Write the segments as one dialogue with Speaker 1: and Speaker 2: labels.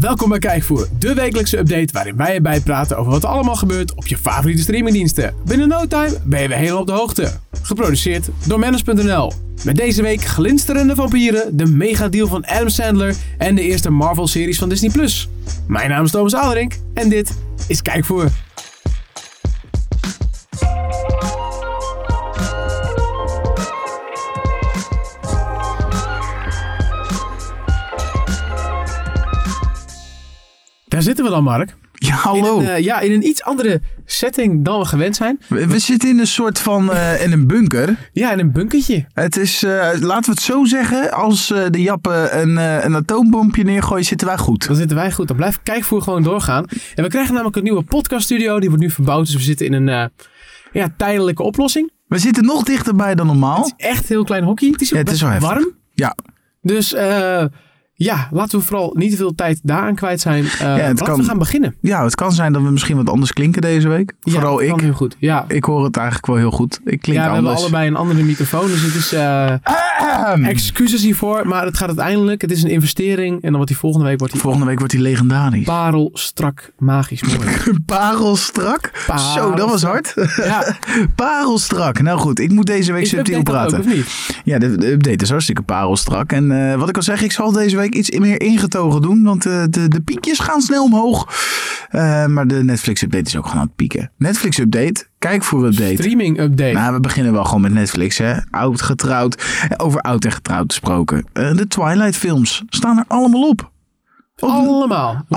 Speaker 1: Welkom bij Kijkvoer, de wekelijkse update waarin wij erbij praten over wat er allemaal gebeurt op je favoriete streamingdiensten. Binnen no time ben je weer helemaal op de hoogte. Geproduceerd door Manus.nl. Met deze week glinsterende vampieren, de megadeal van Adam Sandler en de eerste Marvel-series van Disney+. Mijn naam is Thomas Aderink en dit is Kijkvoer. Daar zitten we dan, Mark.
Speaker 2: Ja, hallo.
Speaker 1: In een, eh, ja, in een iets andere setting dan we gewend zijn.
Speaker 2: we, we zitten in een soort van, eh, in een bunker.
Speaker 1: Ja, in een bunkertje.
Speaker 2: Het is, eh, laten we het zo zeggen, als eh, de jappen een, eh, een atoombompje neergooien, zitten wij goed.
Speaker 1: Dan zitten wij goed. Dan blijft kijkvoer gewoon doorgaan. En we krijgen namelijk een nieuwe podcaststudio. Die wordt nu verbouwd. Dus we zitten in een eh, ja, tijdelijke oplossing.
Speaker 2: We zitten nog dichterbij dan normaal.
Speaker 1: Het is echt heel klein hockey. Het is,
Speaker 2: Ja, het
Speaker 1: best
Speaker 2: is wel heftig.
Speaker 1: warm.
Speaker 2: Ja,
Speaker 1: Dus eh, ja, laten we vooral niet te veel tijd daaraan kwijt zijn. Eh, laten
Speaker 2: kan-
Speaker 1: we gaan beginnen.
Speaker 2: ja, het kan zijn dat we misschien wat anders klinken deze week.
Speaker 1: Ja,
Speaker 2: Vooral
Speaker 1: dat
Speaker 2: ik.
Speaker 1: kan heel goed. Ja,
Speaker 2: Ik hoor het eigenlijk wel heel goed. Ik klink
Speaker 1: ja we hebben
Speaker 2: anders. Hmm.
Speaker 1: allebei een andere microfoon. Dus het is eh, excuses hiervoor. Maar het gaat uiteindelijk. Het is een investering. En dan wordt die volgende week wordt die
Speaker 2: Volgende week wordt hij legendarisch.
Speaker 1: parelstrak magisch mooi.
Speaker 2: Parelstrak. Zo, dat was hard.
Speaker 1: Ja,
Speaker 2: Parelstrak. Nou goed, ik moet deze week
Speaker 1: is update
Speaker 2: subtiel
Speaker 1: dat
Speaker 2: praten.
Speaker 1: Ook, of niet?
Speaker 2: Ja, de, de update is hartstikke parelstrak. En eh, wat ik al zeg, ik zal deze week iets meer ingetogen doen. Want eh, de, de piekjes gaan snel omhoog. Eh, maar de Netflix-update is ook gewoon aan het pieken. Netflix-update, kijk voor update.
Speaker 1: Streaming update.
Speaker 2: Nou, we beginnen wel gewoon met Netflix, hè. Oud, getrouwd. Eh, Over oud en getrouwd gesproken. Eh, de Twilight-films staan er allemaal op. Op-
Speaker 1: Allemaal. Hoe-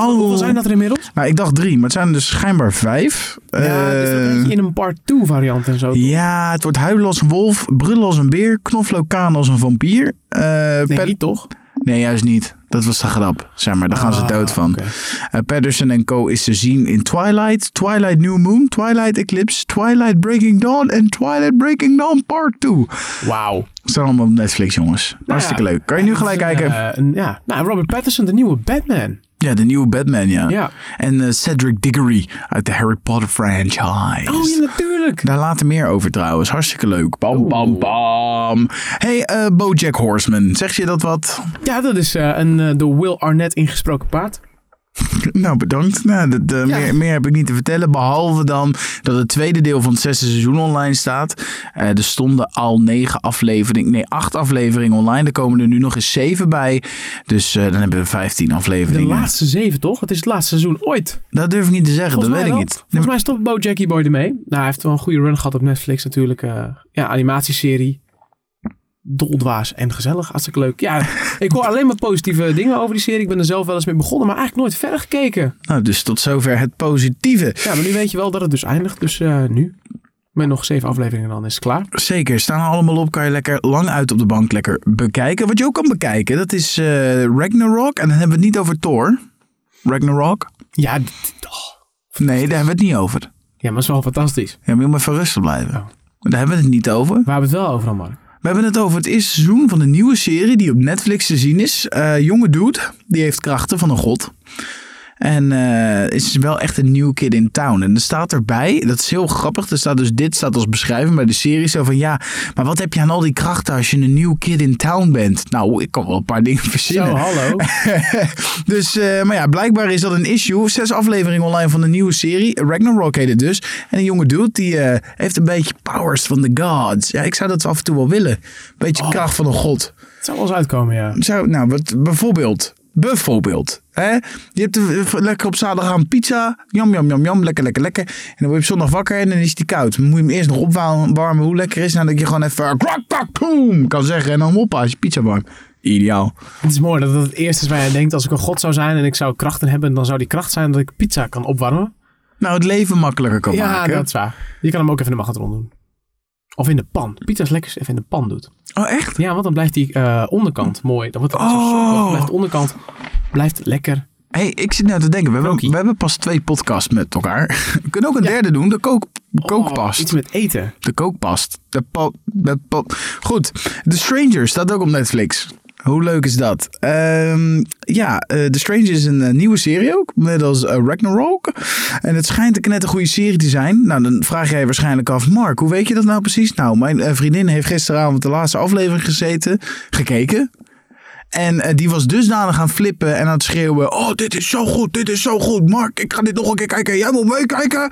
Speaker 2: Allemaal.
Speaker 1: Hoeveel zijn dat er inmiddels?
Speaker 2: Nou, ik dacht drie, maar het zijn er dus schijnbaar vijf.
Speaker 1: ja, dus dat
Speaker 2: Eh,
Speaker 1: weet je in een part 2 variant en zo.
Speaker 2: ja, het wordt huilen als een wolf, brullen als een beer, knoflook kaan als een vampier. Eh,
Speaker 1: nee,
Speaker 2: per-
Speaker 1: niet toch?
Speaker 2: Nee, juist niet. Dat was de grap. Zeg maar, daar gaan ze
Speaker 1: Ah,
Speaker 2: dood van.
Speaker 1: oké.
Speaker 2: Eh, Patterson en Co. is te zien in Twilight, Twilight New Moon, Twilight Eclipse, Twilight Breaking Dawn en Twilight Breaking Dawn Part 2.
Speaker 1: Wauw.
Speaker 2: Staan allemaal op Netflix, jongens. Hartstikke
Speaker 1: ja.
Speaker 2: leuk. Kan je nu gelijk kijken?
Speaker 1: Eh, een- ja. Nou, Robert Pattinson, de nieuwe Batman.
Speaker 2: ja, de nieuwe Batman, ja.
Speaker 1: Ja.
Speaker 2: En eh, Cedric Diggory uit de Harry Potter franchise.
Speaker 1: Oh, ja, natuurlijk.
Speaker 2: Daar later meer over trouwens. Hartstikke leuk. Bam, bam, bam. hey, eh, Bojack Horseman. Zeg je dat wat?
Speaker 1: Ja, dat is eh, een eh, door Will Arnett ingesproken paard.
Speaker 2: Nou, bedankt. Nou, dat, eh,
Speaker 1: Ja.
Speaker 2: meer, meer heb ik niet te vertellen. Behalve dan dat het tweede deel van het zesde seizoen online staat. Eh, er stonden al negen afleveringen, nee, acht afleveringen online. Er komen er nu nog eens zeven bij. Dus eh, dan hebben we vijftien
Speaker 1: De
Speaker 2: afleveringen.
Speaker 1: laatste zeven, toch? Het is het laatste seizoen ooit.
Speaker 2: Dat durf ik niet te zeggen, dat
Speaker 1: Volgens
Speaker 2: weet
Speaker 1: mij
Speaker 2: ik
Speaker 1: wel.
Speaker 2: niet.
Speaker 1: Volgens mij stopt Bo Jackie Boy ermee. Nou, hij heeft wel een goede run gehad op Netflix natuurlijk. eh, ja, animatieserie. Doldwaas en gezellig. Hartstikke leuk. Ja, ik hoor alleen maar positieve dingen over die serie. Ik ben er zelf wel eens mee begonnen, maar eigenlijk nooit verder gekeken.
Speaker 2: Nou, dus tot zover het positieve.
Speaker 1: Ja, maar nu weet je wel dat het dus eindigt. Dus eh, nu. Met nog zeven afleveringen dan is het klaar.
Speaker 2: Zeker, staan er allemaal op. Kan je lekker lang uit op de bank lekker bekijken. Wat je ook kan bekijken, dat is eh, Ragnarok. En dan hebben we het niet over Thor. Ragnarok?
Speaker 1: Ja, dit- oh.
Speaker 2: Nee, daar hebben we het niet over.
Speaker 1: ja maar het is wel fantastisch.
Speaker 2: Ja, maar je moet maar even rustig blijven.
Speaker 1: Oh.
Speaker 2: Daar hebben we het niet over.
Speaker 1: Waar hebben we het wel over dan, Mark?
Speaker 2: We hebben het over het eerste seizoen van een nieuwe serie die op Netflix te zien is. Eh, jonge dude, die heeft krachten van een god. En eh, is wel echt een new kid in town. En er staat erbij, dat is heel grappig, er staat dus dit staat als beschrijving bij de serie. Zo van ja, maar wat heb je aan al die krachten als je een new kid in town bent? Nou, ik kan wel een paar dingen verzinnen.
Speaker 1: Zo, hallo.
Speaker 2: Dus, eh, maar ja, blijkbaar is dat een issue. Zes afleveringen online van de nieuwe serie. Ragnarok heet het dus. En een jonge dude die eh, heeft een beetje powers van de gods. Ja, ik zou dat af en toe wel willen. Beetje
Speaker 1: Oh.
Speaker 2: kracht van een god.
Speaker 1: Het zou wel eens uitkomen, ja.
Speaker 2: Zou, nou, wat, bijvoorbeeld. Bijvoorbeeld. Hè? Je hebt een- eh, lekker op zaterdag aan pizza. Jam, jam, jam, jam. Lekker, lekker, lekker. En dan word je op zondag wakker en dan is die koud. Dan moet je hem eerst nog opwarmen hoe lekker is. En dan dat je gewoon even krak, krak, boom kan zeggen. En dan hoppa, is je pizza warm. Ideaal.
Speaker 1: Het is mooi dat dat het eerste is waar je aan denkt. Als ik een god zou zijn en ik zou krachten hebben, dan zou die kracht zijn dat ik pizza kan opwarmen.
Speaker 2: Nou, het leven makkelijker kan
Speaker 1: ja,
Speaker 2: maken.
Speaker 1: dat is waar. Je kan hem ook even in de magnetron doen. Of in de pan. Pizza is lekker als je even in de pan doet.
Speaker 2: Oh, echt?
Speaker 1: Ja, want dan blijft die eh, onderkant mooi. Dan wordt het zo
Speaker 2: Oh.
Speaker 1: soepel. Dan blijft de onderkant blijft lekker.
Speaker 2: hey, ik zit nou te denken, we hebben,
Speaker 1: Krokie.
Speaker 2: we hebben pas twee podcasts met elkaar. We kunnen ook een derde doen, de kook, de
Speaker 1: Oh,
Speaker 2: kookpast.
Speaker 1: Iets met eten.
Speaker 2: De kookpast. De po, de po- Goed, The Stranger staat ook op Netflix. Hoe leuk is dat? Ehm, ja, eh, The Stranger is een eh, nieuwe serie ook, net als eh, Ragnarok. En het schijnt een knettergoede serie te zijn. Nou, dan vraag jij je waarschijnlijk af, Mark, hoe weet je dat nou precies? Nou, mijn eh, vriendin heeft gisteravond de laatste aflevering gezeten, gekeken. En eh, die was dusdanig aan flippen en aan het schreeuwen. Oh, dit is zo goed, dit is zo goed. Mark, ik ga dit nog een keer kijken. Jij moet meekijken.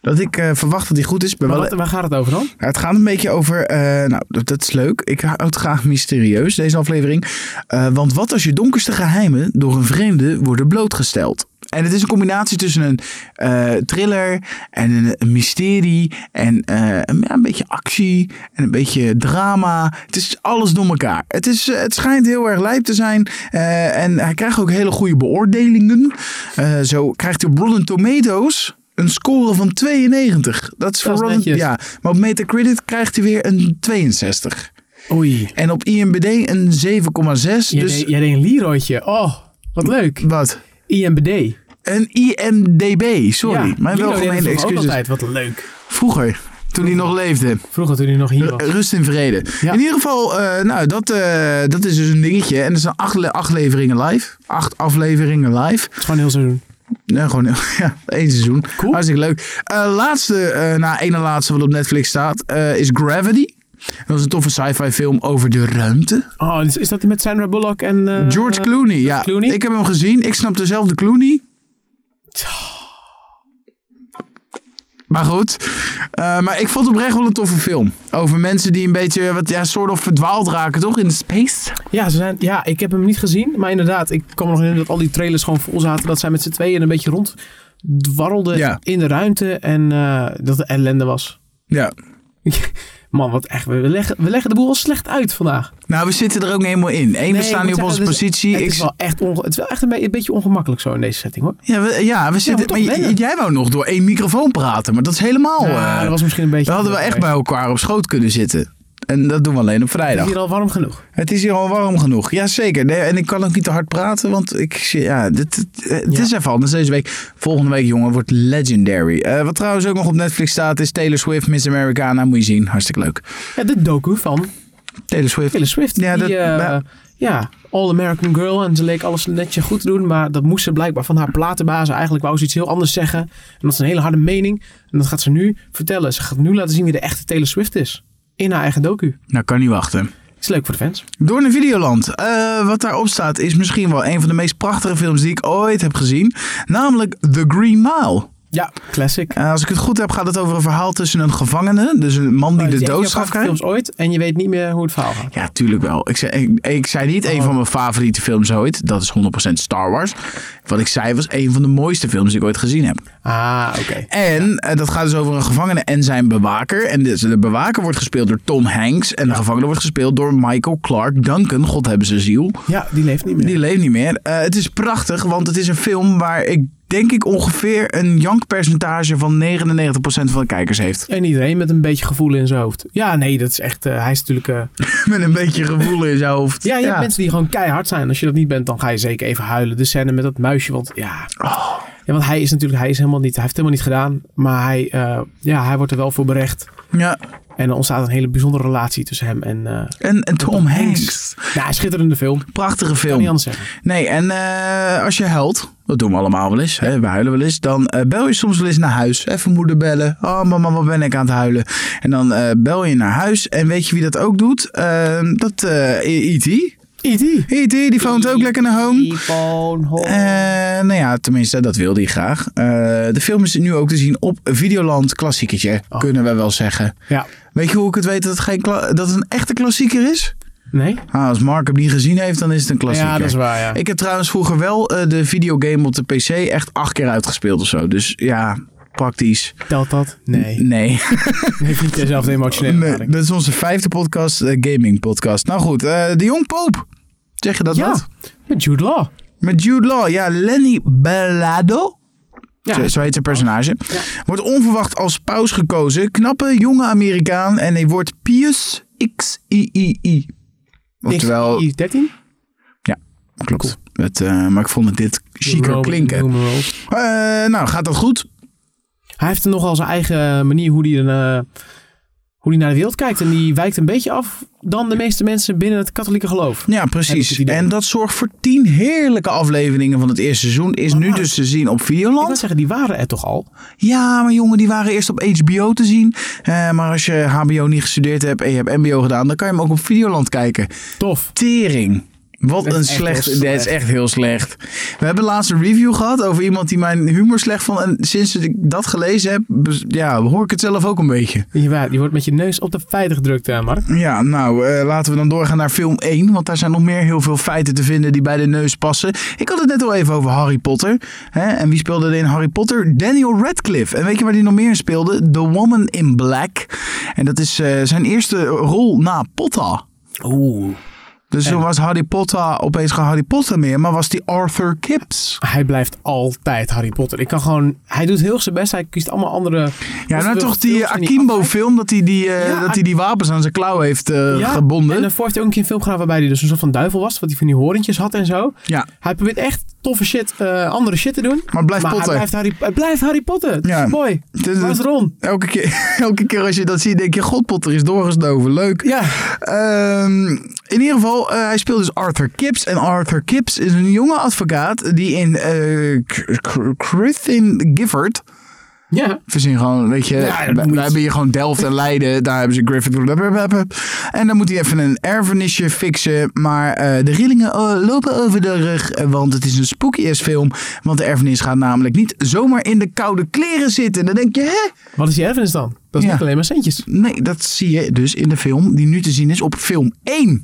Speaker 2: Dat ik eh, verwacht dat die goed is. Ik Ben
Speaker 1: Maar
Speaker 2: wel...
Speaker 1: wat, waar gaat het over dan?
Speaker 2: Ja, Nou, het gaat een beetje over. eh, nou, dat, dat is leuk. Ik hou het graag mysterieus, deze aflevering. Eh, want wat als je donkerste geheimen door een vreemde worden blootgesteld? En het is een combinatie tussen een eh, thriller en een, een mysterie en eh, een, ja, een beetje actie en een beetje drama. Het is alles door elkaar. Het, is, eh, het schijnt heel erg lijp te zijn eh, en hij krijgt ook hele goede beoordelingen. Eh, zo krijgt hij op Rotten Tomatoes een score van 92. Dat is voor
Speaker 1: is
Speaker 2: Rotten,
Speaker 1: netjes.
Speaker 2: ja, Ah, maar op Metacritic krijgt hij weer een 62.
Speaker 1: Oei.
Speaker 2: En op IMBD een 7,6.
Speaker 1: Jij,
Speaker 2: Dus
Speaker 1: deed, jij deed een lierooitje. Oh, wat leuk.
Speaker 2: wat?
Speaker 1: IMBD.
Speaker 2: Een IMDB, sorry.
Speaker 1: Ja,
Speaker 2: mijn
Speaker 1: Lilo deed
Speaker 2: welgemeende
Speaker 1: dat vroeger ook
Speaker 2: excuses.
Speaker 1: altijd. Wat leuk.
Speaker 2: Vroeger, toen hij nog leefde.
Speaker 1: Vroeger toen hij nog hier
Speaker 2: R-
Speaker 1: was.
Speaker 2: Rust in vrede.
Speaker 1: Ja.
Speaker 2: In ieder geval, eh, nou, dat, eh, dat is dus een dingetje. En er zijn acht, le- acht leveringen live. Acht afleveringen live.
Speaker 1: Het is gewoon heel seizoen.
Speaker 2: Nee, gewoon ja, één seizoen.
Speaker 1: Cool.
Speaker 2: Hartstikke leuk. Eh, laatste, eh na ene laatste wat op Netflix staat, eh, is Gravity. Dat is een toffe sci-fi film over de ruimte.
Speaker 1: Oh, is, is dat die met Sandra Bullock en... eh,
Speaker 2: George Clooney, ja.
Speaker 1: Clooney?
Speaker 2: Ik heb hem gezien. Ik snap dezelfde Clooney. Maar goed. Eh, maar ik vond het oprecht wel een toffe film. Over mensen die een beetje, wat, ja, soort of verdwaald raken, toch? In de space.
Speaker 1: Ja, ze zijn, ja, ik heb hem niet gezien. Maar inderdaad, ik kan me nog herinneren dat al die trailers gewoon vol zaten. Dat zij met z'n tweeën een beetje ronddwarrelden
Speaker 2: Ja.
Speaker 1: in de ruimte. En eh, dat het ellende was.
Speaker 2: Ja.
Speaker 1: Man, wat echt. We leggen, we leggen de boel al slecht uit vandaag.
Speaker 2: Nou, we zitten er ook niet helemaal in. Eén, we
Speaker 1: Nee,
Speaker 2: staan
Speaker 1: ik
Speaker 2: nu
Speaker 1: moet
Speaker 2: op onze
Speaker 1: zeggen, het is-
Speaker 2: positie.
Speaker 1: Het
Speaker 2: Ik,
Speaker 1: is wel echt, onge- het is wel echt een, be- een beetje ongemakkelijk zo in deze setting hoor.
Speaker 2: Ja, we, ja, we
Speaker 1: maar
Speaker 2: zitten.
Speaker 1: toch
Speaker 2: maar j-
Speaker 1: wennen.
Speaker 2: jij wou nog door één microfoon praten, maar dat is helemaal.
Speaker 1: Ja,
Speaker 2: eh,
Speaker 1: dat was misschien een beetje.
Speaker 2: we hadden wel echt bij elkaar op schoot kunnen zitten. En dat doen we alleen op
Speaker 1: Het is
Speaker 2: vrijdag.
Speaker 1: hier al warm genoeg.
Speaker 2: Het is hier al warm genoeg. Jazeker. Nee, en ik kan ook niet te hard praten, want ik, zie- ja, dit, het- het
Speaker 1: Ja.
Speaker 2: is even anders deze week. Volgende week, jongen, wordt legendary. Eh, wat trouwens ook nog op Netflix staat, is Taylor Swift, Miss Americana. Moet je zien. Hartstikke leuk.
Speaker 1: Ja, de docu van
Speaker 2: Taylor Swift.
Speaker 1: Taylor Swift.
Speaker 2: Ja,
Speaker 1: Ja, die,
Speaker 2: dat-
Speaker 1: eh,
Speaker 2: maar-
Speaker 1: ja, All American Girl. En ze leek alles netje goed te doen. Maar dat moest ze blijkbaar van haar platenbazen. Eigenlijk wou ze iets heel anders zeggen. En dat is een hele harde mening. En dat gaat ze nu vertellen. Ze gaat nu laten zien wie de echte Taylor Swift is. In haar eigen docu.
Speaker 2: Nou, kan niet wachten.
Speaker 1: Is leuk voor de fans.
Speaker 2: Door naar Videoland. Eh, wat daarop staat is misschien wel een van de meest prachtige films die ik ooit heb gezien. Namelijk The Green Mile.
Speaker 1: Ja, classic.
Speaker 2: Eh, als ik het goed heb, gaat het over een verhaal tussen een gevangene, dus een man die
Speaker 1: Maar het
Speaker 2: de
Speaker 1: is een van je
Speaker 2: doodstraf
Speaker 1: favoriete
Speaker 2: krijgt.
Speaker 1: films ooit. En je weet niet meer hoe het verhaal gaat.
Speaker 2: Ja, tuurlijk wel. Ik zei, ik, ik zei niet een van mijn favoriete films ooit. Dat is 100% Star Wars. Wat ik zei was een van de mooiste films die ik ooit gezien heb.
Speaker 1: Ah, oké.
Speaker 2: En eh, dat gaat dus over een gevangene en zijn bewaker. En de, de bewaker wordt gespeeld door Tom Hanks. En de gevangene wordt gespeeld door Michael Clark Duncan. God hebben ze ziel.
Speaker 1: Ja, die leeft niet meer.
Speaker 2: Die leeft niet meer. Eh, het is prachtig, want het is een film waar ik denk ik ongeveer een jankpercentage van 99% van de kijkers heeft.
Speaker 1: En iedereen met een beetje gevoel in zijn hoofd. Ja, nee, dat is echt. eh, hij is natuurlijk. eh,
Speaker 2: Met een beetje gevoel in zijn hoofd.
Speaker 1: ja, je hebt mensen die gewoon keihard zijn. Als je dat niet bent, dan ga je zeker even huilen. De scène met dat muisje. Want ja.
Speaker 2: Oh.
Speaker 1: ja want hij is natuurlijk. Hij is helemaal niet. Hij heeft het helemaal niet gedaan. Maar hij, eh, ja, hij wordt er wel voor berecht.
Speaker 2: ja.
Speaker 1: En er ontstaat een hele bijzondere relatie tussen hem en. eh
Speaker 2: En, en Tom Hanks.
Speaker 1: nou, een schitterende film. Kan
Speaker 2: Prachtige
Speaker 1: niet
Speaker 2: film.
Speaker 1: anders zeggen.
Speaker 2: Nee, en eh, als je huilt, dat doen we allemaal wel eens, hè, we huilen wel eens, dan eh, bel je soms wel eens naar huis. Even moeder bellen. Oh mama, wat ben ik aan het huilen? En dan eh, bel je naar huis. En weet je wie dat ook doet? Eh, dat eh E.T.
Speaker 1: E.T.
Speaker 2: E.T. E die woont ook lekker naar home.
Speaker 1: Iphone, home.
Speaker 2: Eh, nou ja, tenminste, dat wilde hij graag. Eh, de film is nu ook te zien op Videoland Klassieketje,
Speaker 1: Oh.
Speaker 2: kunnen we wel zeggen.
Speaker 1: Ja.
Speaker 2: Weet je hoe ik het weet dat het, geen kla- dat het een echte klassieker is?
Speaker 1: Nee?
Speaker 2: Ah, als Mark hem niet gezien heeft, dan is het een klassieker.
Speaker 1: Ja, dat is waar. Ja.
Speaker 2: Ik heb trouwens vroeger wel eh, de videogame op de PC echt acht keer uitgespeeld of zo. Dus ja, praktisch.
Speaker 1: Telt dat? Nee.
Speaker 2: Nee.
Speaker 1: Heeft niet dezelfde emotionele
Speaker 2: Nee,
Speaker 1: lading.
Speaker 2: dat is onze vijfde podcast, eh, gaming podcast. Nou goed, eh, de Jong Poop. Zeg je dat
Speaker 1: Ja.
Speaker 2: wat?
Speaker 1: Met Jude Law.
Speaker 2: Met Jude Law, ja, Lenny Bellado.
Speaker 1: Ja.
Speaker 2: Zo, zo heet zijn personage. Wordt onverwacht als paus gekozen. Knappe, jonge Amerikaan. En hij wordt Pius XIII. Oftewel,
Speaker 1: Niks- 13?
Speaker 2: klopt. Het, eh, maar ik vond het dit chiquer
Speaker 1: Roman
Speaker 2: klinken.
Speaker 1: numerals.
Speaker 2: Eh, nou, gaat dat goed?
Speaker 1: Hij heeft nogal zijn eigen manier hoe hij, een, eh, hoe hij naar de wereld kijkt. En die wijkt een beetje af dan de meeste mensen binnen het katholieke geloof.
Speaker 2: Ja,
Speaker 1: Heb ik het
Speaker 2: precies.
Speaker 1: idee.
Speaker 2: En dat zorgt voor tien heerlijke afleveringen van het eerste seizoen. Is nu
Speaker 1: maar-
Speaker 2: dus te zien op
Speaker 1: Ik wil
Speaker 2: Videoland.
Speaker 1: zeggen, die waren er toch al?
Speaker 2: Ja, maar jongen, die waren eerst op HBO te zien. Eh, maar als je HBO niet gestudeerd hebt en je hebt MBO gedaan, dan kan je hem ook op Videoland kijken.
Speaker 1: Tof.
Speaker 2: Tering. Wat
Speaker 1: Dat is
Speaker 2: een
Speaker 1: echt
Speaker 2: slecht,
Speaker 1: heel
Speaker 2: dit is
Speaker 1: slecht.
Speaker 2: echt heel slecht. We hebben laatst een review gehad over iemand die mijn humor slecht vond. En sinds ik dat gelezen heb, bes- ja, hoor ik het zelf ook een beetje.
Speaker 1: Je, wa- je wordt met je neus op de feiten gedrukt, eh, Mark.
Speaker 2: Ja, nou, eh, laten we dan doorgaan naar film 1. Want daar zijn nog meer heel veel feiten te vinden die bij de neus passen. Ik had het net al even over Harry Potter. Hè? En wie speelde er in Harry Potter? Daniel Radcliffe. En weet je waar die nog meer in speelde? The Woman in Black. En dat is eh, zijn eerste rol na Potter.
Speaker 1: Oeh.
Speaker 2: Dus toen
Speaker 1: En-
Speaker 2: was Harry Potter opeens geen Harry Potter meer, maar was die Arthur Kipps.
Speaker 1: Hij blijft altijd Harry Potter. Ik kan gewoon... Hij doet heel zijn best. Hij kiest allemaal andere...
Speaker 2: Ja, nou
Speaker 1: Oftewel
Speaker 2: toch die
Speaker 1: films en
Speaker 2: Akimbo-film dat hij die, eh,
Speaker 1: Ja,
Speaker 2: dat hij die wapens aan zijn klauw heeft eh,
Speaker 1: Ja,
Speaker 2: gebonden.
Speaker 1: En daarvoor heeft hij ook een keer een film gedaan waarbij hij dus een soort van duivel was. Wat hij van die horentjes had en zo.
Speaker 2: Ja,
Speaker 1: Hij probeert echt toffe shit, eh, andere shit te doen.
Speaker 2: maar blijf
Speaker 1: maar
Speaker 2: Potter.
Speaker 1: Hij blijft Harry, hij blijft Harry Potter. Dat
Speaker 2: Ja.
Speaker 1: is mooi.
Speaker 2: Het is-
Speaker 1: Waar is Ron?
Speaker 2: elke, keer, elke keer als je dat ziet, denk je, god, Potter is doorgesnoven. Leuk.
Speaker 1: Ja.
Speaker 2: Ehm, in ieder geval, eh, hij speelt dus Arthur Kipps. En Arthur Kipps is een jonge advocaat die in eh, Cr- Cr- Crichton Gifford...
Speaker 1: Ja.
Speaker 2: Verzin gewoon, weet je,
Speaker 1: Ja, dat
Speaker 2: we,
Speaker 1: moet
Speaker 2: we
Speaker 1: je-
Speaker 2: hebben hier gewoon Delft en Leiden. Daar hebben ze Griffith. En dan moet hij even een erfenisje fixen. Maar eh, de rillingen eh, lopen over de rug. eh, Want het is een spooky ass film. Want de erfenis gaat namelijk niet zomaar in de koude kleren zitten. Dan denk je, hè?
Speaker 1: Wat is die erfenis dan? Dat is
Speaker 2: Ja.
Speaker 1: niet alleen maar centjes.
Speaker 2: Nee, dat zie je dus in de film die nu te zien is op film 1.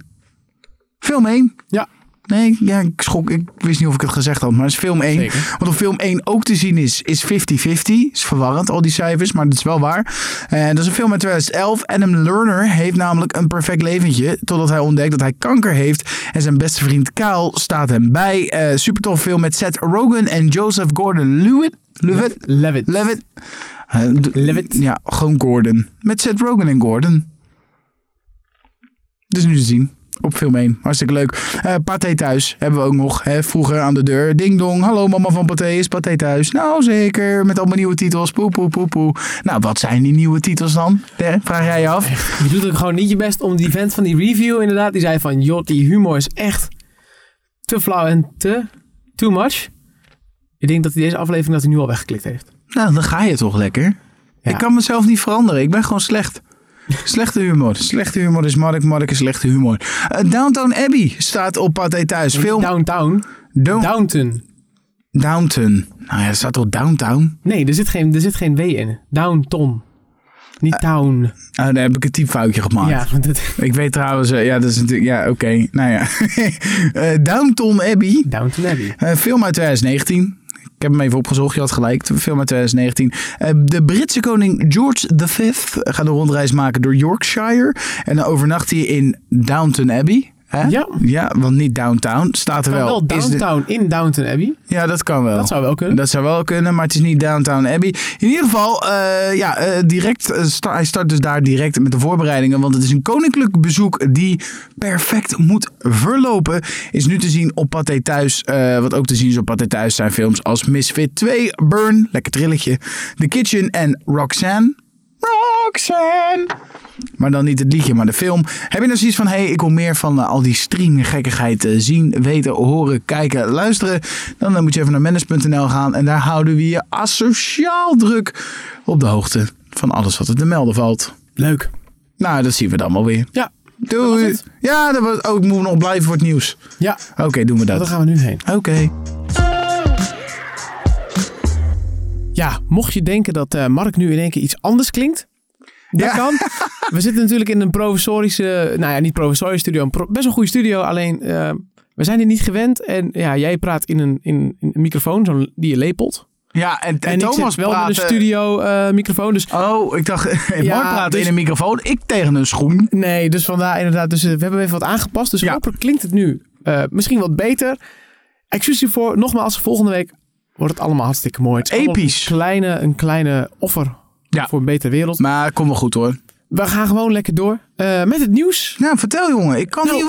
Speaker 2: Film 1.
Speaker 1: Ja.
Speaker 2: Nee, ja, ik schok. Ik wist niet of ik het gezegd had, maar het is film 1.
Speaker 1: Zeker.
Speaker 2: Wat op film 1 ook te zien is, is 50-50. Is verwarrend, al die cijfers, maar dat is wel waar. Eh, dat is een film uit 2011. Adam Lerner heeft namelijk een perfect leventje. Totdat hij ontdekt dat hij kanker heeft. En zijn beste vriend Kaal staat hem bij. Eh super tof film met Seth Rogen en Joseph Gordon-Lewitt. Lewitt?
Speaker 1: Love it.
Speaker 2: Levitt. Eh, d-
Speaker 1: Levitt.
Speaker 2: Ja, gewoon Gordon. Met Seth Rogen en Gordon. Dus nu te zien. Op film 1. Hartstikke leuk. Eh Pathé thuis hebben we ook nog. Hè? Vroeger aan de deur. Ding dong. Hallo mama van Pathé. Is Pathé thuis? Nou zeker. Met allemaal nieuwe titels. Poe poe poe poe. Nou wat zijn die nieuwe titels dan? Hè, vraag jij je af.
Speaker 1: Je doet ook gewoon niet je best om die vent van die review inderdaad. Die zei van, joh, die humor is echt te flauw en te too much. Ik denk dat hij deze aflevering dat hij nu al weggeklikt heeft.
Speaker 2: Nou dan ga je toch lekker.
Speaker 1: Ja.
Speaker 2: Ik kan mezelf niet veranderen. Ik ben gewoon slecht. Slechte humor. Slechte humor is Mark. Mark is slechte humor. Eh, Downtown Abbey staat op Pathé thuis. Film
Speaker 1: Downtown.
Speaker 2: Don't-
Speaker 1: Downton.
Speaker 2: Downton. Nou ja, er staat toch Downtown?
Speaker 1: Nee, er zit, geen, er zit geen W in. Downton. Niet town.
Speaker 2: Ah, daar heb ik een typfoutje gemaakt.
Speaker 1: Ja, want het-
Speaker 2: Ik weet trouwens, eh, ja, dat is natuurlijk, ja, oké. Nou ja. Eh, Downton Abbey,
Speaker 1: Downton Abbey.
Speaker 2: eh, film uit 2019. Ik heb hem even opgezocht, je had gelijk. De Film uit 2019. Eh, de Britse koning George V gaat een rondreis maken door Yorkshire. En dan overnacht hij in Downton Abbey. Hè?
Speaker 1: Ja.
Speaker 2: ja, want niet downtown. Staat er
Speaker 1: Maar
Speaker 2: wel.
Speaker 1: wel
Speaker 2: Is de-
Speaker 1: downtown in Downton Abbey.
Speaker 2: Ja, dat kan wel.
Speaker 1: Dat zou wel kunnen.
Speaker 2: Dat zou wel kunnen, maar het is niet Downtown Abbey. In ieder geval, eh, ja, eh, direct, eh, sta- hij start dus daar direct met de voorbereidingen. Want het is een koninklijk bezoek die perfect moet verlopen. Is nu te zien op Pathé Thuis. eh, wat ook te zien is op Pathé Thuis zijn films als Misfit 2, Burn, lekker trilletje, The Kitchen en Roxanne. Roxanne! Maar dan niet het liedje, maar de film. Heb je nou zoiets van, hé, hey, ik wil meer van eh, al die streamgekkigheid eh, zien, weten, horen, kijken, luisteren. Dan eh, moet je even naar manage.nl gaan en daar houden we je asociaal druk op de hoogte van alles wat er te melden valt.
Speaker 1: Leuk.
Speaker 2: Nou, dat zien we dan wel weer.
Speaker 1: Ja.
Speaker 2: Doei!
Speaker 1: was het.
Speaker 2: ja, dat was, oh, ik moet nog blijven voor het nieuws.
Speaker 1: Ja.
Speaker 2: Oké, doen we
Speaker 1: Daar
Speaker 2: dat.
Speaker 1: gaan we nu heen.
Speaker 2: Oké.
Speaker 1: Ja, mocht je denken dat eh, Mark nu in één keer iets anders klinkt. Dat
Speaker 2: Ja.
Speaker 1: kan. We zitten natuurlijk in een provisorische, nou ja, niet provisorische studio, een pro- best een goede studio. Alleen, eh, we zijn er niet gewend. En ja, jij praat in een, in, in een microfoon zo'n, die je lepelt.
Speaker 2: Ja, en,
Speaker 1: En,
Speaker 2: en
Speaker 1: ik
Speaker 2: Thomas
Speaker 1: zit wel
Speaker 2: praat,
Speaker 1: met een
Speaker 2: eh,
Speaker 1: studio eh, microfoon. Dus
Speaker 2: Oh, ik dacht, Mark
Speaker 1: Ja,
Speaker 2: praat
Speaker 1: dus-
Speaker 2: in een microfoon, ik tegen een schoen.
Speaker 1: nee, dus vandaar inderdaad. Dus eh, we hebben even wat aangepast. Dus
Speaker 2: Ja.
Speaker 1: hopelijk klinkt het nu eh, misschien wat beter. Excuus hiervoor. Nogmaals, volgende week wordt het allemaal hartstikke mooi. Het is allemaal
Speaker 2: Episch.
Speaker 1: Een kleine, een kleine offer
Speaker 2: Ja.
Speaker 1: voor een betere wereld.
Speaker 2: Maar kom wel goed hoor.
Speaker 1: We gaan gewoon lekker door eh, met het nieuws.
Speaker 2: Nou, vertel jongen, ik kan
Speaker 1: Nou-
Speaker 2: niet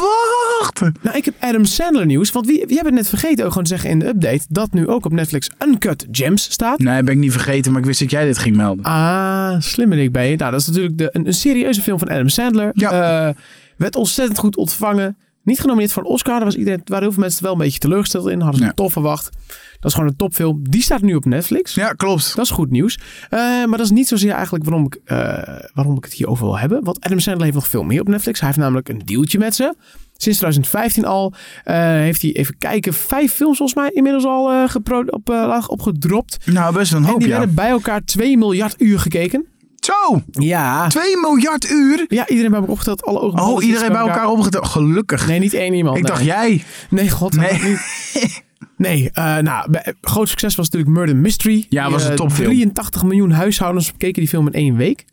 Speaker 2: wachten.
Speaker 1: Nou, ik heb Adam Sandler nieuws. Want wie, wie hebben het net vergeten ook gewoon te zeggen in de update... dat nu ook op Netflix Uncut Gems staat.
Speaker 2: Nee, ben ik niet vergeten, maar ik wist dat jij dit ging melden.
Speaker 1: Ah, slimmer ik ben je. Nou, dat is natuurlijk de, een, een serieuze film van Adam Sandler.
Speaker 2: Ja.
Speaker 1: Eh, werd ontzettend goed ontvangen. Niet genomineerd voor een Oscar. Daar was iedereen, daar waren heel veel mensen wel een beetje teleurgesteld in. Hadden ze
Speaker 2: Ja.
Speaker 1: het tof verwacht. Dat is gewoon een topfilm. Die staat nu op Netflix.
Speaker 2: Ja, klopt.
Speaker 1: Dat is goed nieuws. Eh, maar dat is niet zozeer eigenlijk waarom ik, eh, waarom ik het hierover wil hebben. Want Adam Sandler heeft nog veel meer op Netflix. Hij heeft namelijk een dealtje met ze. Sinds 2015 al eh, heeft hij, even kijken, vijf films volgens mij inmiddels al eh, gepro- op, eh, opgedropt.
Speaker 2: Nou, best wel een
Speaker 1: En
Speaker 2: hoop,
Speaker 1: die
Speaker 2: ja.
Speaker 1: werden bij elkaar 2 miljard uur gekeken.
Speaker 2: Zo,
Speaker 1: Ja.
Speaker 2: 2 miljard uur.
Speaker 1: Ja, iedereen bij elkaar opgeteld. Alle ogen.
Speaker 2: Oh, iedereen bij elkaar opgeteld. Gelukkig.
Speaker 1: Nee, niet één iemand.
Speaker 2: Ik dacht,
Speaker 1: nee.
Speaker 2: jij.
Speaker 1: Nee, god.
Speaker 2: Nee.
Speaker 1: dat niet. Nee, eh, nou, bij- groot succes was natuurlijk Murder Mystery.
Speaker 2: Ja, was
Speaker 1: Die,
Speaker 2: een
Speaker 1: eh,
Speaker 2: topfilm.
Speaker 1: 83 miljoen huishoudens bekeken die film in één week.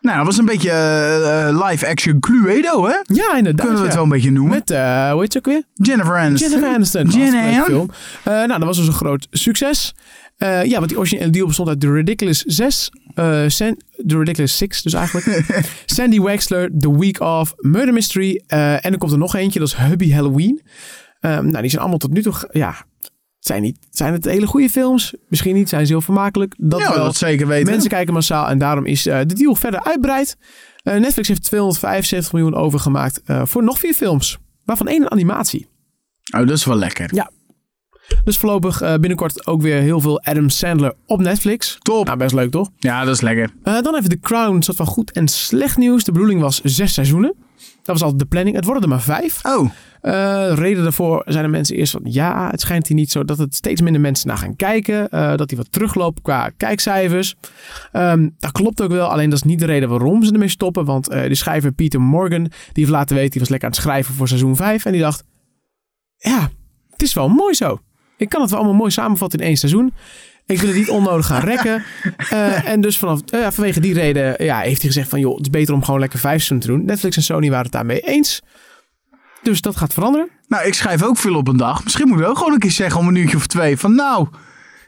Speaker 2: Nou, dat was een beetje eh, eh, live-action Cluedo, hè?
Speaker 1: Ja, inderdaad.
Speaker 2: Kunnen we het
Speaker 1: ja.
Speaker 2: wel een beetje noemen.
Speaker 1: Met, eh hoe heet ze ook weer?
Speaker 2: Jennifer Aniston.
Speaker 1: Jennifer Aniston.
Speaker 2: Jen
Speaker 1: Hartstikke leuke
Speaker 2: Ann.
Speaker 1: film. Eh, nou, dat was dus een groot succes. Eh, ja, want die originele deal bestond uit The Ridiculous 6. eh, San- The Ridiculous 6 dus eigenlijk. Sandy Wexler, The Week Of, Murder Mystery. eh, en er komt er nog eentje, dat is Hubby Halloween. Ehm, nou, die zijn allemaal tot nu toe... ge- Ja, zijn, niet, zijn het hele goede films? Misschien niet, zijn ze heel vermakelijk. Dat
Speaker 2: ja,
Speaker 1: wel.
Speaker 2: dat zeker weten.
Speaker 1: Mensen kijken massaal en daarom is eh, de deal verder uitbreid. Eh, Netflix heeft 275 miljoen overgemaakt eh, voor nog vier films. Waarvan één een animatie.
Speaker 2: Oh, dat is wel lekker.
Speaker 1: Dus voorlopig eh, binnenkort ook weer heel veel Adam Sandler op Netflix.
Speaker 2: Top.
Speaker 1: Nou, best leuk toch?
Speaker 2: Ja, dat is lekker.
Speaker 1: Eh, dan even The Crown. Zat van goed en slecht nieuws. De bedoeling was zes seizoenen. Dat was altijd de planning. Het worden er maar vijf.
Speaker 2: Oh,
Speaker 1: Eh, reden daarvoor zijn de mensen eerst van... Ja, het schijnt hier niet zo dat het steeds minder mensen naar gaan kijken. eh, dat die wat terugloopt qua kijkcijfers. Ehm, dat klopt ook wel. Alleen dat is niet de reden waarom ze ermee stoppen. Want eh, de schrijver Peter Morgan... Die heeft laten weten, die was lekker aan het schrijven voor seizoen 5. En die dacht... Ja, het is wel mooi zo. Ik kan het wel allemaal mooi samenvatten in één seizoen. Ik wil het niet onnodig gaan rekken. Eh, en dus vanaf, eh, ja, vanwege die reden ja, heeft hij gezegd van... joh, het is beter om gewoon lekker vijf seizoenen te doen. Netflix en Sony waren het daarmee eens. Dus dat gaat veranderen.
Speaker 2: nou, ik schrijf ook veel op een dag. Misschien moet ik ook gewoon een keer zeggen om een uurtje of twee. Van nou,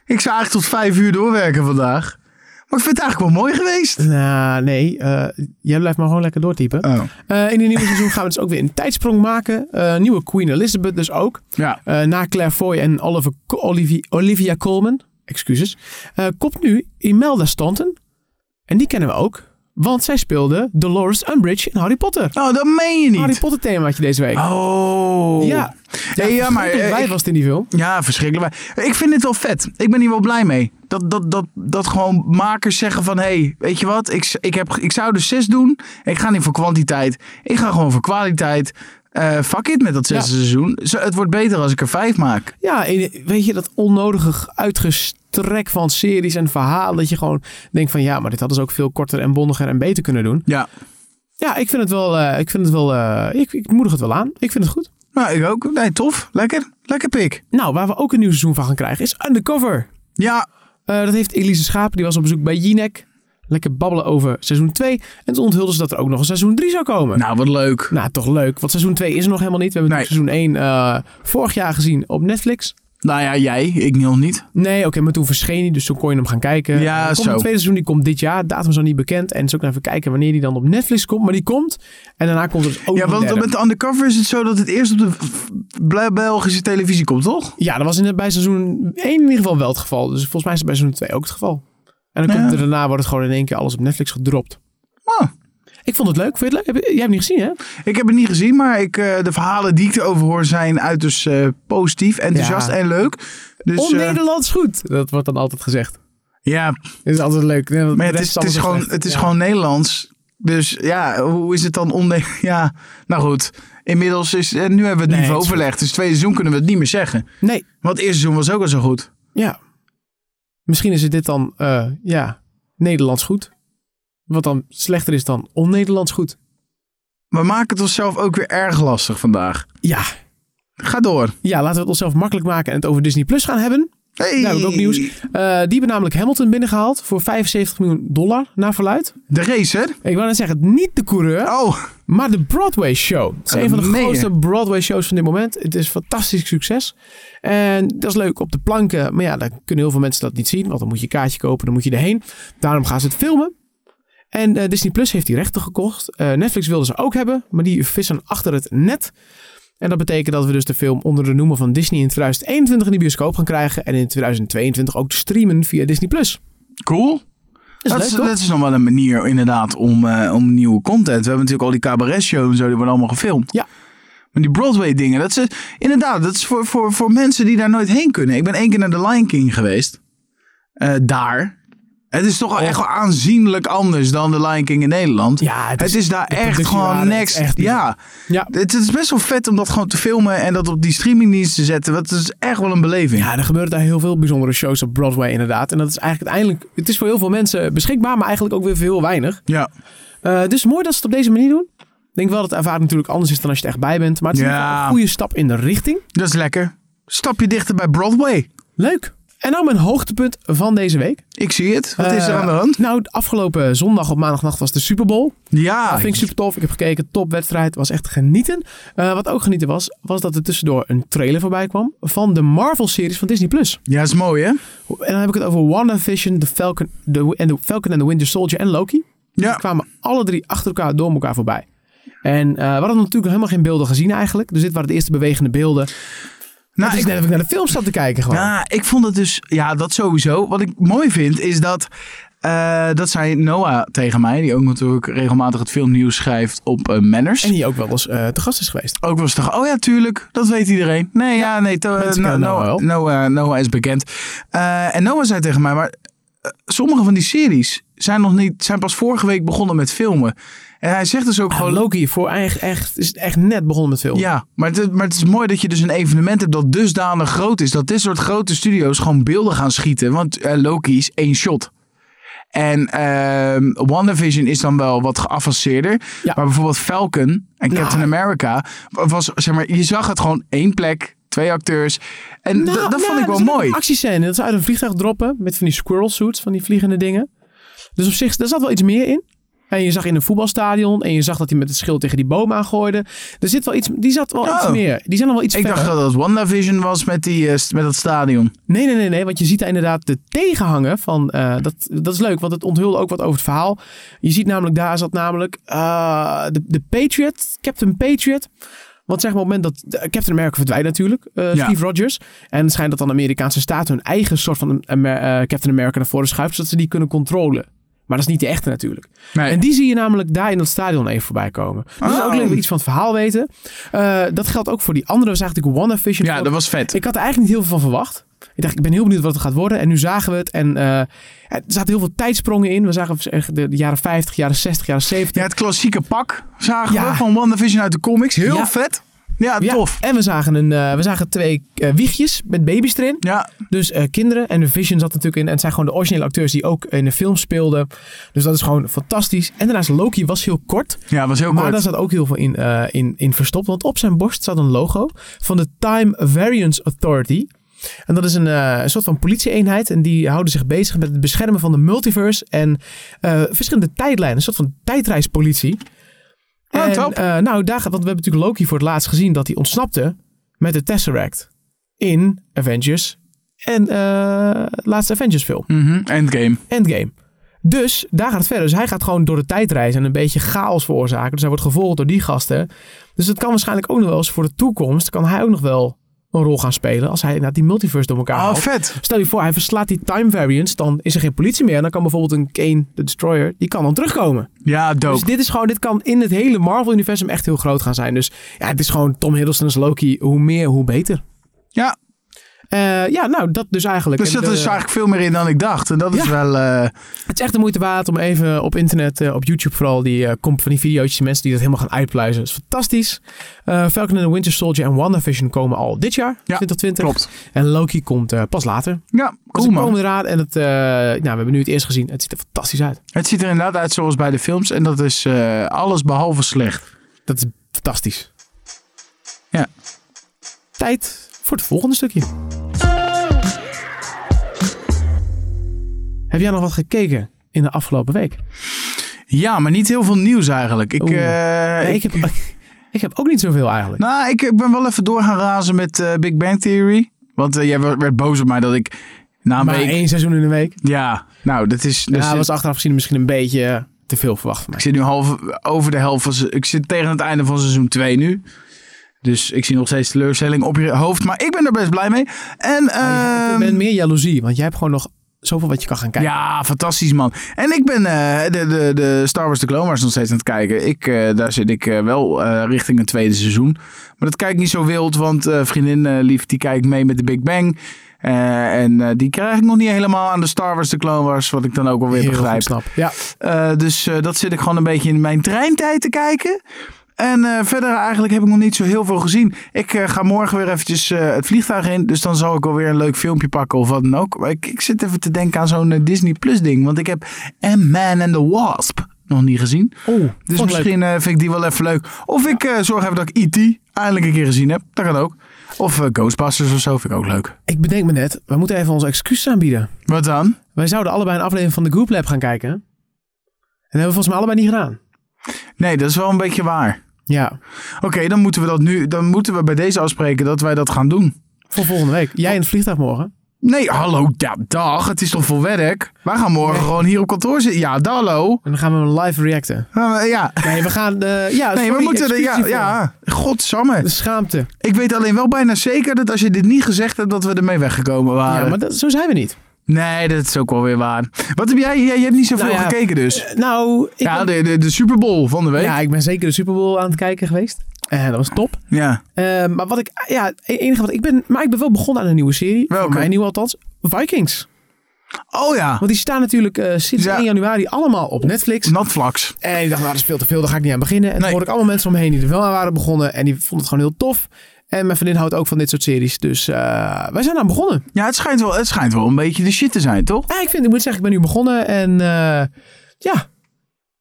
Speaker 2: ik zou eigenlijk tot vijf uur doorwerken vandaag. Maar ik vind het eigenlijk wel mooi geweest.
Speaker 1: Nou, nee. eh, jij blijft maar gewoon lekker doortypen.
Speaker 2: Oh,
Speaker 1: Eh, in het nieuwe seizoen gaan we dus ook weer een tijdsprong maken. Eh, nieuwe Queen Elizabeth dus ook.
Speaker 2: ja.
Speaker 1: Eh, na Claire Foy en Oliver Co- Olivia, Olivia Colman. Excuses. Eh komt nu Imelda Staunton. En die kennen we ook. Want zij speelde Dolores Umbridge in Harry Potter.
Speaker 2: Oh, dat meen je
Speaker 1: Harry
Speaker 2: niet.
Speaker 1: Potter themaatje deze week.
Speaker 2: Oh.
Speaker 1: Ja.
Speaker 2: Nee, ja, maar,
Speaker 1: verschrikkelijk
Speaker 2: eh,
Speaker 1: blij
Speaker 2: ik-
Speaker 1: was het in die film.
Speaker 2: Ja, verschrikkelijk. Maar ik vind het wel vet. Ik ben hier wel blij mee. Dat, dat, dat, dat gewoon makers zeggen van... Hé, hey, weet je wat? Ik, ik, heb, ik zou dus zes doen. Ik ga niet voor kwantiteit. Ik ga gewoon voor kwaliteit. Eh, fuck it met dat zesde seizoen. Zo, het wordt beter als ik er vijf maak.
Speaker 1: Ja, en weet je, dat onnodige uitgestrek van series en verhalen. Dat je gewoon denkt van ja, maar dit hadden ze ook veel korter en bondiger en beter kunnen doen.
Speaker 2: Ja.
Speaker 1: Ja, ik vind het wel, eh, ik vind het wel, eh, ik, ik moedig het wel aan. Ik vind het goed.
Speaker 2: Nou, ik ook. Nee, tof. Lekker. Lekker pik.
Speaker 1: Nou, waar we ook een nieuw seizoen van gaan krijgen is Undercover.
Speaker 2: Ja.
Speaker 1: Eh, dat heeft Elise Schapen, die was op bezoek bij Jinek. Lekker babbelen over seizoen 2. En toen onthulden ze dat er ook nog een seizoen 3 zou komen. Nou,
Speaker 2: Nou, wat leuk.
Speaker 1: toch leuk. Want seizoen 2 is er nog helemaal niet. We hebben
Speaker 2: Nee.
Speaker 1: seizoen 1 eh, vorig jaar gezien op Netflix.
Speaker 2: Nou ja, jij. Ik nog niet.
Speaker 1: Nee, oké, maar toen verscheen hij, dus toen kon je hem gaan kijken.
Speaker 2: Ja,
Speaker 1: Er komt
Speaker 2: zo.
Speaker 1: Het tweede seizoen, die komt dit jaar. Datum is nog niet bekend. En dus ook nog even kijken wanneer die dan op Netflix komt. Maar die komt. En daarna komt er dus ook nog
Speaker 2: Ja,
Speaker 1: een
Speaker 2: want
Speaker 1: derde.
Speaker 2: met de undercover is het zo dat het eerst op de v- Bel- Belgische televisie komt, toch?
Speaker 1: Ja, dat was in, het- bij seizoen 1 in ieder geval wel het geval. Dus volgens mij is het bij seizoen 2 ook het geval. En dan
Speaker 2: Nou Ja.
Speaker 1: komt er daarna wordt het gewoon in één keer alles op Netflix gedropt.
Speaker 2: Ah.
Speaker 1: Ik vond het leuk. Vind je het leuk? Heb je- jij hebt het niet gezien, hè?
Speaker 2: Ik heb het niet gezien, maar ik, eh, de verhalen die ik erover hoor zijn uiterst eh, positief, enthousiast
Speaker 1: Ja.
Speaker 2: en leuk. Dus, eh,
Speaker 1: On-Nederlands goed. Dat wordt dan altijd gezegd.
Speaker 2: ja,
Speaker 1: Dat is altijd leuk. Nee, want
Speaker 2: maar ja,
Speaker 1: de
Speaker 2: het
Speaker 1: rest
Speaker 2: is, het is,
Speaker 1: allemaal
Speaker 2: gewoon,
Speaker 1: slecht.
Speaker 2: het is
Speaker 1: Ja.
Speaker 2: gewoon Nederlands. Dus ja, hoe is het dan on Ja, nou goed. Inmiddels is, en nu hebben we het
Speaker 1: Nee,
Speaker 2: niveau
Speaker 1: het is goed.
Speaker 2: verlegd. Dus tweede seizoen kunnen we het niet meer zeggen.
Speaker 1: Nee,
Speaker 2: Want het eerste seizoen was ook al zo goed.
Speaker 1: ja. Misschien is het dit dan, eh, ja, Nederlands goed. Wat dan slechter is dan on-Nederlands goed.
Speaker 2: We maken het onszelf ook weer erg lastig vandaag.
Speaker 1: Ja.
Speaker 2: Ga door.
Speaker 1: Ja, laten we het onszelf makkelijk maken en het over Disney Plus gaan hebben.
Speaker 2: Hey.
Speaker 1: Daar heb ik ook nieuws. Eh, die hebben namelijk Hamilton binnengehaald voor 75 miljoen dollar, naar verluid.
Speaker 2: De racer.
Speaker 1: Ik wou net zeggen, niet de coureur,
Speaker 2: Oh,
Speaker 1: maar de Broadway show. Het is
Speaker 2: Ja,
Speaker 1: een van de
Speaker 2: meen je?
Speaker 1: grootste Broadway shows van dit moment. Het is een fantastisch succes. En dat is leuk op de planken. Maar ja, dan kunnen heel veel mensen dat niet zien. Want dan moet je een kaartje kopen, dan moet je erheen. Daarom gaan ze het filmen. En eh, Disney Plus heeft die rechten gekocht. Eh, Netflix wilden ze ook hebben, maar die vissen achter het net. En dat betekent dat we dus de film onder de noemer van Disney in 2021 in de bioscoop gaan krijgen. En in 2022 ook te streamen via Disney Plus.
Speaker 2: cool.
Speaker 1: Is
Speaker 2: Dat,
Speaker 1: leuk,
Speaker 2: is,
Speaker 1: toch?
Speaker 2: dat is nog wel een manier inderdaad om, eh, om nieuwe content. We hebben natuurlijk al die cabaret shows en zo, die worden allemaal gefilmd.
Speaker 1: Ja.
Speaker 2: Van die Broadway dingen. Dat ze, inderdaad, dat is voor, voor, voor mensen die daar nooit heen kunnen. Ik ben één keer naar The Lion King geweest. Eh, daar. Het is toch wel echt wel aanzienlijk anders dan The Lion King in Nederland.
Speaker 1: Ja,
Speaker 2: het, is, daar
Speaker 1: de
Speaker 2: echt gewoon
Speaker 1: productiewaarde is
Speaker 2: next.
Speaker 1: echt niet-
Speaker 2: ja,
Speaker 1: Ja.
Speaker 2: het, het is best wel vet om dat gewoon te filmen en dat op die streamingdienst te zetten. Dat is echt wel een beleving.
Speaker 1: Ja, er gebeuren daar heel veel bijzondere shows op Broadway inderdaad. En dat is eigenlijk uiteindelijk... Het is voor heel veel mensen beschikbaar, maar eigenlijk ook weer voor heel weinig.
Speaker 2: ja.
Speaker 1: Eh, dus mooi dat ze het op deze manier doen. Ik denk wel dat de ervaring natuurlijk anders is dan als je er echt bij bent. Maar het is in ieder geval
Speaker 2: Ja.
Speaker 1: een goede stap in de richting.
Speaker 2: dat is lekker. Stapje dichter bij Broadway.
Speaker 1: Leuk. En nou mijn hoogtepunt van deze week.
Speaker 2: Ik zie het. Wat is er
Speaker 1: Eh,
Speaker 2: aan de hand?
Speaker 1: Nou, de afgelopen zondag op maandagnacht was de Super Bowl.
Speaker 2: Ja,
Speaker 1: Dat vind ik super tof. Ik heb gekeken, topwedstrijd. Was echt genieten. Eh, wat ook genieten was, was dat er tussendoor een trailer voorbij kwam van de Marvel-series van Disney+. Plus.
Speaker 2: ja, is mooi hè?
Speaker 1: En dan heb ik het over WandaVision, The Falcon, de, en de Falcon and the Winter Soldier en Loki.
Speaker 2: Ja.
Speaker 1: Die kwamen alle drie achter elkaar door elkaar voorbij. En eh, we hadden natuurlijk helemaal geen beelden gezien eigenlijk. Dus dit waren de eerste bewegende beelden. Nou,
Speaker 2: Nou,
Speaker 1: het is
Speaker 2: ik,
Speaker 1: net of ik naar de film zat te kijken gewoon.
Speaker 2: ja, ik vond het dus... Ja, dat sowieso. Wat ik mooi vind is dat... eh, dat zei Noah tegen mij, die ook natuurlijk regelmatig het filmnieuws schrijft op eh, Manners.
Speaker 1: En die ook wel eens eh, te gast is geweest.
Speaker 2: Ook was toch, oh ja, tuurlijk, dat weet iedereen. Nee, ja, nee, to-
Speaker 1: mensen
Speaker 2: eh,
Speaker 1: kennen
Speaker 2: no-
Speaker 1: Noah wel.
Speaker 2: Noah, Noah is bekend. Eh, en Noah zei tegen mij, maar eh, sommige van die series zijn, nog niet, zijn pas vorige week begonnen met filmen. En hij zegt dus ook
Speaker 1: Gewoon
Speaker 2: gewoon,
Speaker 1: Loki voor echt, echt, is echt net begonnen met film.
Speaker 2: ja, maar het, maar het is mooi dat je dus een evenement hebt dat dusdanig groot is. Dat dit soort grote studio's gewoon beelden gaan schieten. Want eh, Loki is één shot. En ehm WandaVision is dan wel wat geavanceerder.
Speaker 1: Ja. Nou,
Speaker 2: Maar bijvoorbeeld Falcon en Captain America was, zeg maar, je zag het gewoon één plek, twee acteurs. En
Speaker 1: Nou,
Speaker 2: dat dat
Speaker 1: nou,
Speaker 2: vond ik wel
Speaker 1: er zit ook
Speaker 2: mooi.
Speaker 1: Een actiescène. Dat ze uit een vliegtuig droppen met van die squirrel suits, van die vliegende dingen. Dus op zich, daar zat wel iets meer in. En je zag in een voetbalstadion en je zag dat hij met het schild tegen die boom aangooide. Er zit wel iets, die zat wel
Speaker 2: Oh.
Speaker 1: iets meer. Die zijn nog wel iets
Speaker 2: Ik
Speaker 1: verder.
Speaker 2: dacht dat het WandaVision was met, die, eh, st- met dat stadion.
Speaker 1: Nee, nee, nee, nee. Want je ziet daar inderdaad de tegenhanger van. eh, dat, dat is leuk, want het onthulde ook wat over het verhaal. Je ziet namelijk, daar zat namelijk eh, de, de Patriot, Captain Patriot. Want zeg maar op het moment dat de- Captain America verdwijnt natuurlijk, eh,
Speaker 2: Ja.
Speaker 1: Steve Rogers. En het schijnt dat dan de Amerikaanse staat hun eigen soort van Amer- eh, Captain America naar voren schuift, zodat ze die kunnen controleren. Maar dat is niet de echte natuurlijk.
Speaker 2: Nee.
Speaker 1: En die zie je namelijk daar in dat stadion even voorbij komen. Dus dat is ook
Speaker 2: Oh.
Speaker 1: leuk dat we iets van het verhaal weten. Eh, dat geldt ook voor die andere. Dat was eigenlijk WandaVision.
Speaker 2: Ja,
Speaker 1: Ook-
Speaker 2: dat was vet.
Speaker 1: ik had er eigenlijk niet heel veel van verwacht. Ik dacht, ik ben heel benieuwd wat het gaat worden. En nu zagen we het. En eh, er zaten heel veel tijdsprongen in. We zagen zeg, de, de jaren 50, jaren 60, jaren 70.
Speaker 2: Ja, het klassieke pak zagen
Speaker 1: Ja.
Speaker 2: we van WandaVision uit de comics. Heel
Speaker 1: Ja.
Speaker 2: vet. Ja,
Speaker 1: Ja,
Speaker 2: tof.
Speaker 1: En we zagen, een, eh, we zagen twee eh, wiegjes met baby's erin.
Speaker 2: Ja,
Speaker 1: Dus eh, kinderen. En de Vision zat natuurlijk in. En het zijn gewoon de originele acteurs die ook in de film speelden. Dus dat is gewoon fantastisch. En daarnaast, Loki was heel kort.
Speaker 2: ja was heel
Speaker 1: Maar
Speaker 2: kort.
Speaker 1: daar zat ook heel veel in, eh, in, in verstopt. Want op zijn borst zat een logo van de Time Variance Authority. En dat is een, eh, een soort van politieeenheid. En die houden zich bezig met het beschermen van de multiverse. En eh, verschillende tijdlijnen. Een soort van tijdreispolitie.
Speaker 2: Oh,
Speaker 1: en,
Speaker 2: top.
Speaker 1: eh, nou, daar gaat, want we hebben natuurlijk Loki voor het laatst gezien dat hij ontsnapte met de Tesseract. In Avengers. En eh laatste Avengers film.
Speaker 2: Mhm, Endgame.
Speaker 1: Endgame. Dus daar gaat het verder. Dus hij gaat gewoon door de tijd reizen en een beetje chaos veroorzaken. Dus hij wordt gevolgd door die gasten. Dus dat kan waarschijnlijk ook nog wel eens voor de toekomst. Kan hij ook nog wel een rol gaan spelen als hij inderdaad die multiverse door elkaar
Speaker 2: Oh,
Speaker 1: haalt.
Speaker 2: vet.
Speaker 1: Stel je voor, hij verslaat die time variance. Dan is er geen politie meer. En dan kan bijvoorbeeld een Kane, de Destroyer, die kan dan terugkomen.
Speaker 2: Ja,
Speaker 1: Dus
Speaker 2: dope.
Speaker 1: dit is gewoon, dit kan in het hele Marvel-universum echt heel groot gaan zijn. Dus ja, het is gewoon Tom Hiddleston's Loki. Hoe meer, hoe beter.
Speaker 2: Ja,
Speaker 1: Eh, ja, nou, dat dus eigenlijk.
Speaker 2: dus
Speaker 1: En
Speaker 2: dat
Speaker 1: de-
Speaker 2: is eigenlijk veel meer in dan ik dacht. En dat is
Speaker 1: Ja.
Speaker 2: wel... eh,
Speaker 1: Het is echt de moeite waard om even op internet, eh, op YouTube vooral, die eh, komt van die video's, die mensen die dat helemaal gaan uitpluizen. Dat is fantastisch. Eh, Falcon and the Winter Soldier en WandaVision komen al dit jaar, 2020.
Speaker 2: klopt.
Speaker 1: En Loki komt eh, pas later. Dus
Speaker 2: Ja, cool
Speaker 1: ze
Speaker 2: man.
Speaker 1: komen eraan en het, eh, nou, we hebben nu het eerst gezien. Het ziet er fantastisch uit.
Speaker 2: Het ziet er inderdaad uit zoals bij de films. En dat is eh, alles behalve slecht.
Speaker 1: Dat is fantastisch.
Speaker 2: Ja.
Speaker 1: Tijd voor het volgende stukje. Heb jij nog wat gekeken in de afgelopen week?
Speaker 2: Ja, maar niet heel veel nieuws eigenlijk. Ik,
Speaker 1: Oeh.
Speaker 2: eh,
Speaker 1: Nee, ik,
Speaker 2: ik,
Speaker 1: heb, ik heb ook niet zoveel eigenlijk.
Speaker 2: nou, ik ben wel even door gaan razen met eh, Big Bang Theory. Want eh, jij werd werd boos op mij dat ik na een
Speaker 1: maar
Speaker 2: week...
Speaker 1: één seizoen in de week. Dus
Speaker 2: Ja, nou, dat is... dat
Speaker 1: ja,
Speaker 2: is-
Speaker 1: was achteraf gezien misschien een beetje eh, te veel verwacht van mij.
Speaker 2: Ik zit nu half over de helft van... se- Ik zit tegen het einde van seizoen 2 nu. Dus ik zie nog steeds teleurstelling op je hoofd. Maar ik ben er best blij mee. En...
Speaker 1: Maar ja,
Speaker 2: ehm,
Speaker 1: ik ben meer jaloezie, want jij hebt gewoon nog zoveel wat je kan gaan kijken.
Speaker 2: Ja, fantastisch man. En ik ben eh, de, de, de Star Wars The Clone Wars nog steeds aan het kijken. Ik, eh, daar zit ik eh, wel eh, richting een tweede seizoen. Maar dat kijkt niet zo wild, want eh, vriendin eh, lief, die kijkt mee met de Big Bang. Eh, en eh, die krijg ik nog niet helemaal aan de Star Wars The Clone Wars, wat ik dan ook alweer
Speaker 1: Heel goed
Speaker 2: begrijp.
Speaker 1: snap. Ja,
Speaker 2: Eh, dus eh, dat zit ik gewoon een beetje in mijn treintijd te kijken. En eh, verder eigenlijk heb ik nog niet zo heel veel gezien. Ik eh, ga morgen weer eventjes eh, het vliegtuig in. Dus dan zal ik alweer een leuk filmpje pakken of wat dan ook. Maar ik, ik zit even te denken aan zo'n eh, Disney Plus ding. Want ik heb Ant-Man and the Wasp nog niet gezien.
Speaker 1: Oeh,
Speaker 2: Dus
Speaker 1: vond ik leuk.
Speaker 2: misschien eh, vind ik die wel even leuk. Of ik eh, zorg even dat ik E.T. eindelijk een keer gezien heb. Dat kan ook. Of eh, Ghostbusters of zo vind ik ook leuk.
Speaker 1: ik bedenk me net, we moeten even onze excuses aanbieden.
Speaker 2: Wat dan?
Speaker 1: Wij zouden allebei een aflevering van de Group Lab gaan kijken. En dat hebben we volgens mij allebei niet gedaan.
Speaker 2: Nee, dat is wel een beetje waar.
Speaker 1: Ja,
Speaker 2: Oké, dan moeten we dat nu. Dan moeten we bij deze afspreken dat wij dat gaan doen.
Speaker 1: voor volgende week. Jij in het vliegtuig morgen.
Speaker 2: Nee, hallo, da- dag. Het is toch vol werk? Wij gaan morgen gewoon hier op kantoor zitten. Ja, da- hallo.
Speaker 1: En dan gaan we hem live reacten.
Speaker 2: Eh, ja.
Speaker 1: Nee, we gaan... eh, ja,
Speaker 2: Nee, we
Speaker 1: sorry,
Speaker 2: moeten... er- Ja,
Speaker 1: excuses voor.
Speaker 2: ja.
Speaker 1: De
Speaker 2: Godsamme.
Speaker 1: schaamte.
Speaker 2: Dus- Ik weet alleen wel bijna zeker dat als je dit niet gezegd hebt, dat we ermee weggekomen waren.
Speaker 1: Ja, maar dat, zo zijn we niet.
Speaker 2: Nee, dat is ook wel weer waar. Wat heb jij? Jij jij hebt niet zoveel
Speaker 1: Nou ja,
Speaker 2: gekeken dus.
Speaker 1: Eh, Nou, ik,
Speaker 2: ja,
Speaker 1: ben,
Speaker 2: de, de, de Super Bowl van de week.
Speaker 1: ja,
Speaker 2: Ja.
Speaker 1: ik ben zeker de Super Bowl aan het kijken geweest. En dat was top. Eh, maar wat ik... Ja, het enige wat ik ben... Maar ik ben wel begonnen aan een nieuwe serie.
Speaker 2: Welke?
Speaker 1: Voor mij nieuw althans. Vikings.
Speaker 2: Oh ja,
Speaker 1: Want die staan natuurlijk eh, sinds
Speaker 2: Ja.
Speaker 1: 1 januari allemaal op Netflix.
Speaker 2: natvlaks.
Speaker 1: En ik dacht, nou, dat is veel te veel, daar ga ik niet aan beginnen. En
Speaker 2: Nee.
Speaker 1: toen hoorde ik allemaal mensen omheen die er wel aan waren begonnen. En die vonden het gewoon heel tof. En mijn vriendin houdt ook van dit soort series. Dus eh, wij zijn aan begonnen.
Speaker 2: Ja, het schijnt, wel, het schijnt wel een beetje de shit te zijn, toch?
Speaker 1: Ja, ik, vind, ik moet zeggen, ik ben nu begonnen. En eh, ja,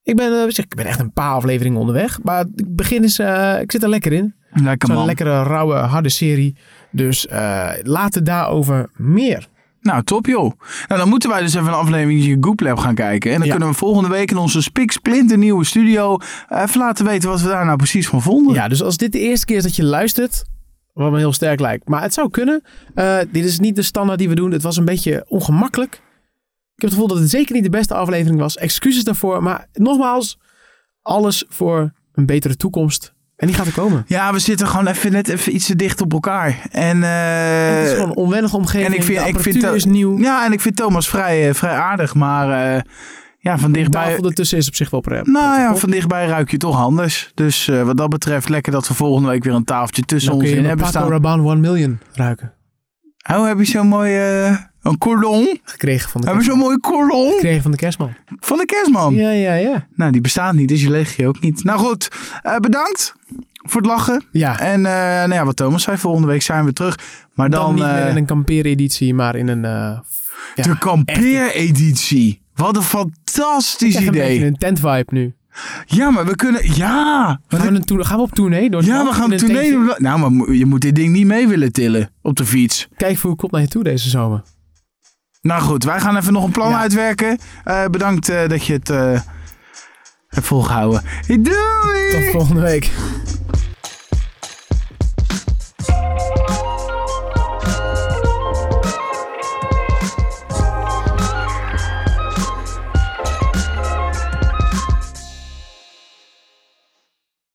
Speaker 1: ik ben, eh, zeg, ik ben echt een paar afleveringen onderweg. Maar het begin is, eh, ik zit er lekker in.
Speaker 2: Lekker
Speaker 1: Zo'n
Speaker 2: man.
Speaker 1: lekkere, rauwe, harde serie. Dus eh, later daarover meer.
Speaker 2: Nou, top joh. Nou, dan moeten wij dus even een aflevering Goop Lab gaan kijken. En dan
Speaker 1: Ja.
Speaker 2: kunnen we volgende week in onze spiksplinter nieuwe studio eh, even laten weten wat we daar nou precies van vonden.
Speaker 1: Ja, dus als dit de eerste keer is dat je luistert, wat me heel sterk lijkt. Maar het zou kunnen. Eh, dit is niet de standaard die we doen. Het was een beetje ongemakkelijk. Ik heb het gevoel dat het zeker niet de beste aflevering was. Excuses daarvoor. Maar nogmaals, alles voor een betere toekomst. En die gaat er komen.
Speaker 2: Ja, we zitten gewoon even net even iets te dicht op elkaar. En, eh,
Speaker 1: het is gewoon een onwennige omgeving.
Speaker 2: en ik vind-
Speaker 1: de
Speaker 2: ik vind
Speaker 1: apparatuur
Speaker 2: dat-
Speaker 1: is nieuw.
Speaker 2: ja, en ik vind Thomas vrij, eh, vrij aardig, maar eh, ja, van
Speaker 1: de tafel
Speaker 2: dichtbij...
Speaker 1: ertussen is op zich wel prettig.
Speaker 2: Nou ja, van dichtbij ruik je toch anders. Dus eh, wat dat betreft, lekker dat we volgende week weer een tafeltje tussen
Speaker 1: Dan
Speaker 2: ons
Speaker 1: kun je
Speaker 2: in
Speaker 1: een
Speaker 2: hebben
Speaker 1: Paco
Speaker 2: staan.
Speaker 1: Rabanne 1 Million ruiken.
Speaker 2: Oh, heb je zo'n mooi... eh, een cordon?
Speaker 1: Gekregen van de,
Speaker 2: Heb
Speaker 1: kerstman.
Speaker 2: je zo'n mooi cordon?
Speaker 1: Gekregen van de kerstman.
Speaker 2: Van de kerstman.
Speaker 1: Ja, ja, ja.
Speaker 2: Nou, die bestaat niet, dus je legio ook niet. Nou goed, eh, bedankt voor het lachen.
Speaker 1: Ja,
Speaker 2: En eh, nou ja, wat Thomas zei, volgende week zijn we terug. Maar
Speaker 1: dan,
Speaker 2: dan,
Speaker 1: niet meer
Speaker 2: eh,
Speaker 1: in een kampeereditie, maar in een... eh, ja,
Speaker 2: de kampeereditie. Wat een fantastisch
Speaker 1: echt een beetje
Speaker 2: idee.
Speaker 1: een tent-vibe nu.
Speaker 2: Ja, maar we kunnen... Ja!
Speaker 1: Gaan we, een toer- gaan we op tournee? Door het
Speaker 2: Ja,
Speaker 1: land
Speaker 2: we
Speaker 1: in
Speaker 2: gaan
Speaker 1: een
Speaker 2: tournee
Speaker 1: tentje?
Speaker 2: doen. Nou, maar mo- je moet dit ding niet mee willen tillen op de fiets.
Speaker 1: Kijk voor hoe komt naar je toe deze zomer.
Speaker 2: Nou goed, wij gaan even nog een plan
Speaker 1: Ja.
Speaker 2: uitwerken. Eh, bedankt eh, dat je het eh, hebt volgehouden. Doei!
Speaker 1: Tot volgende week.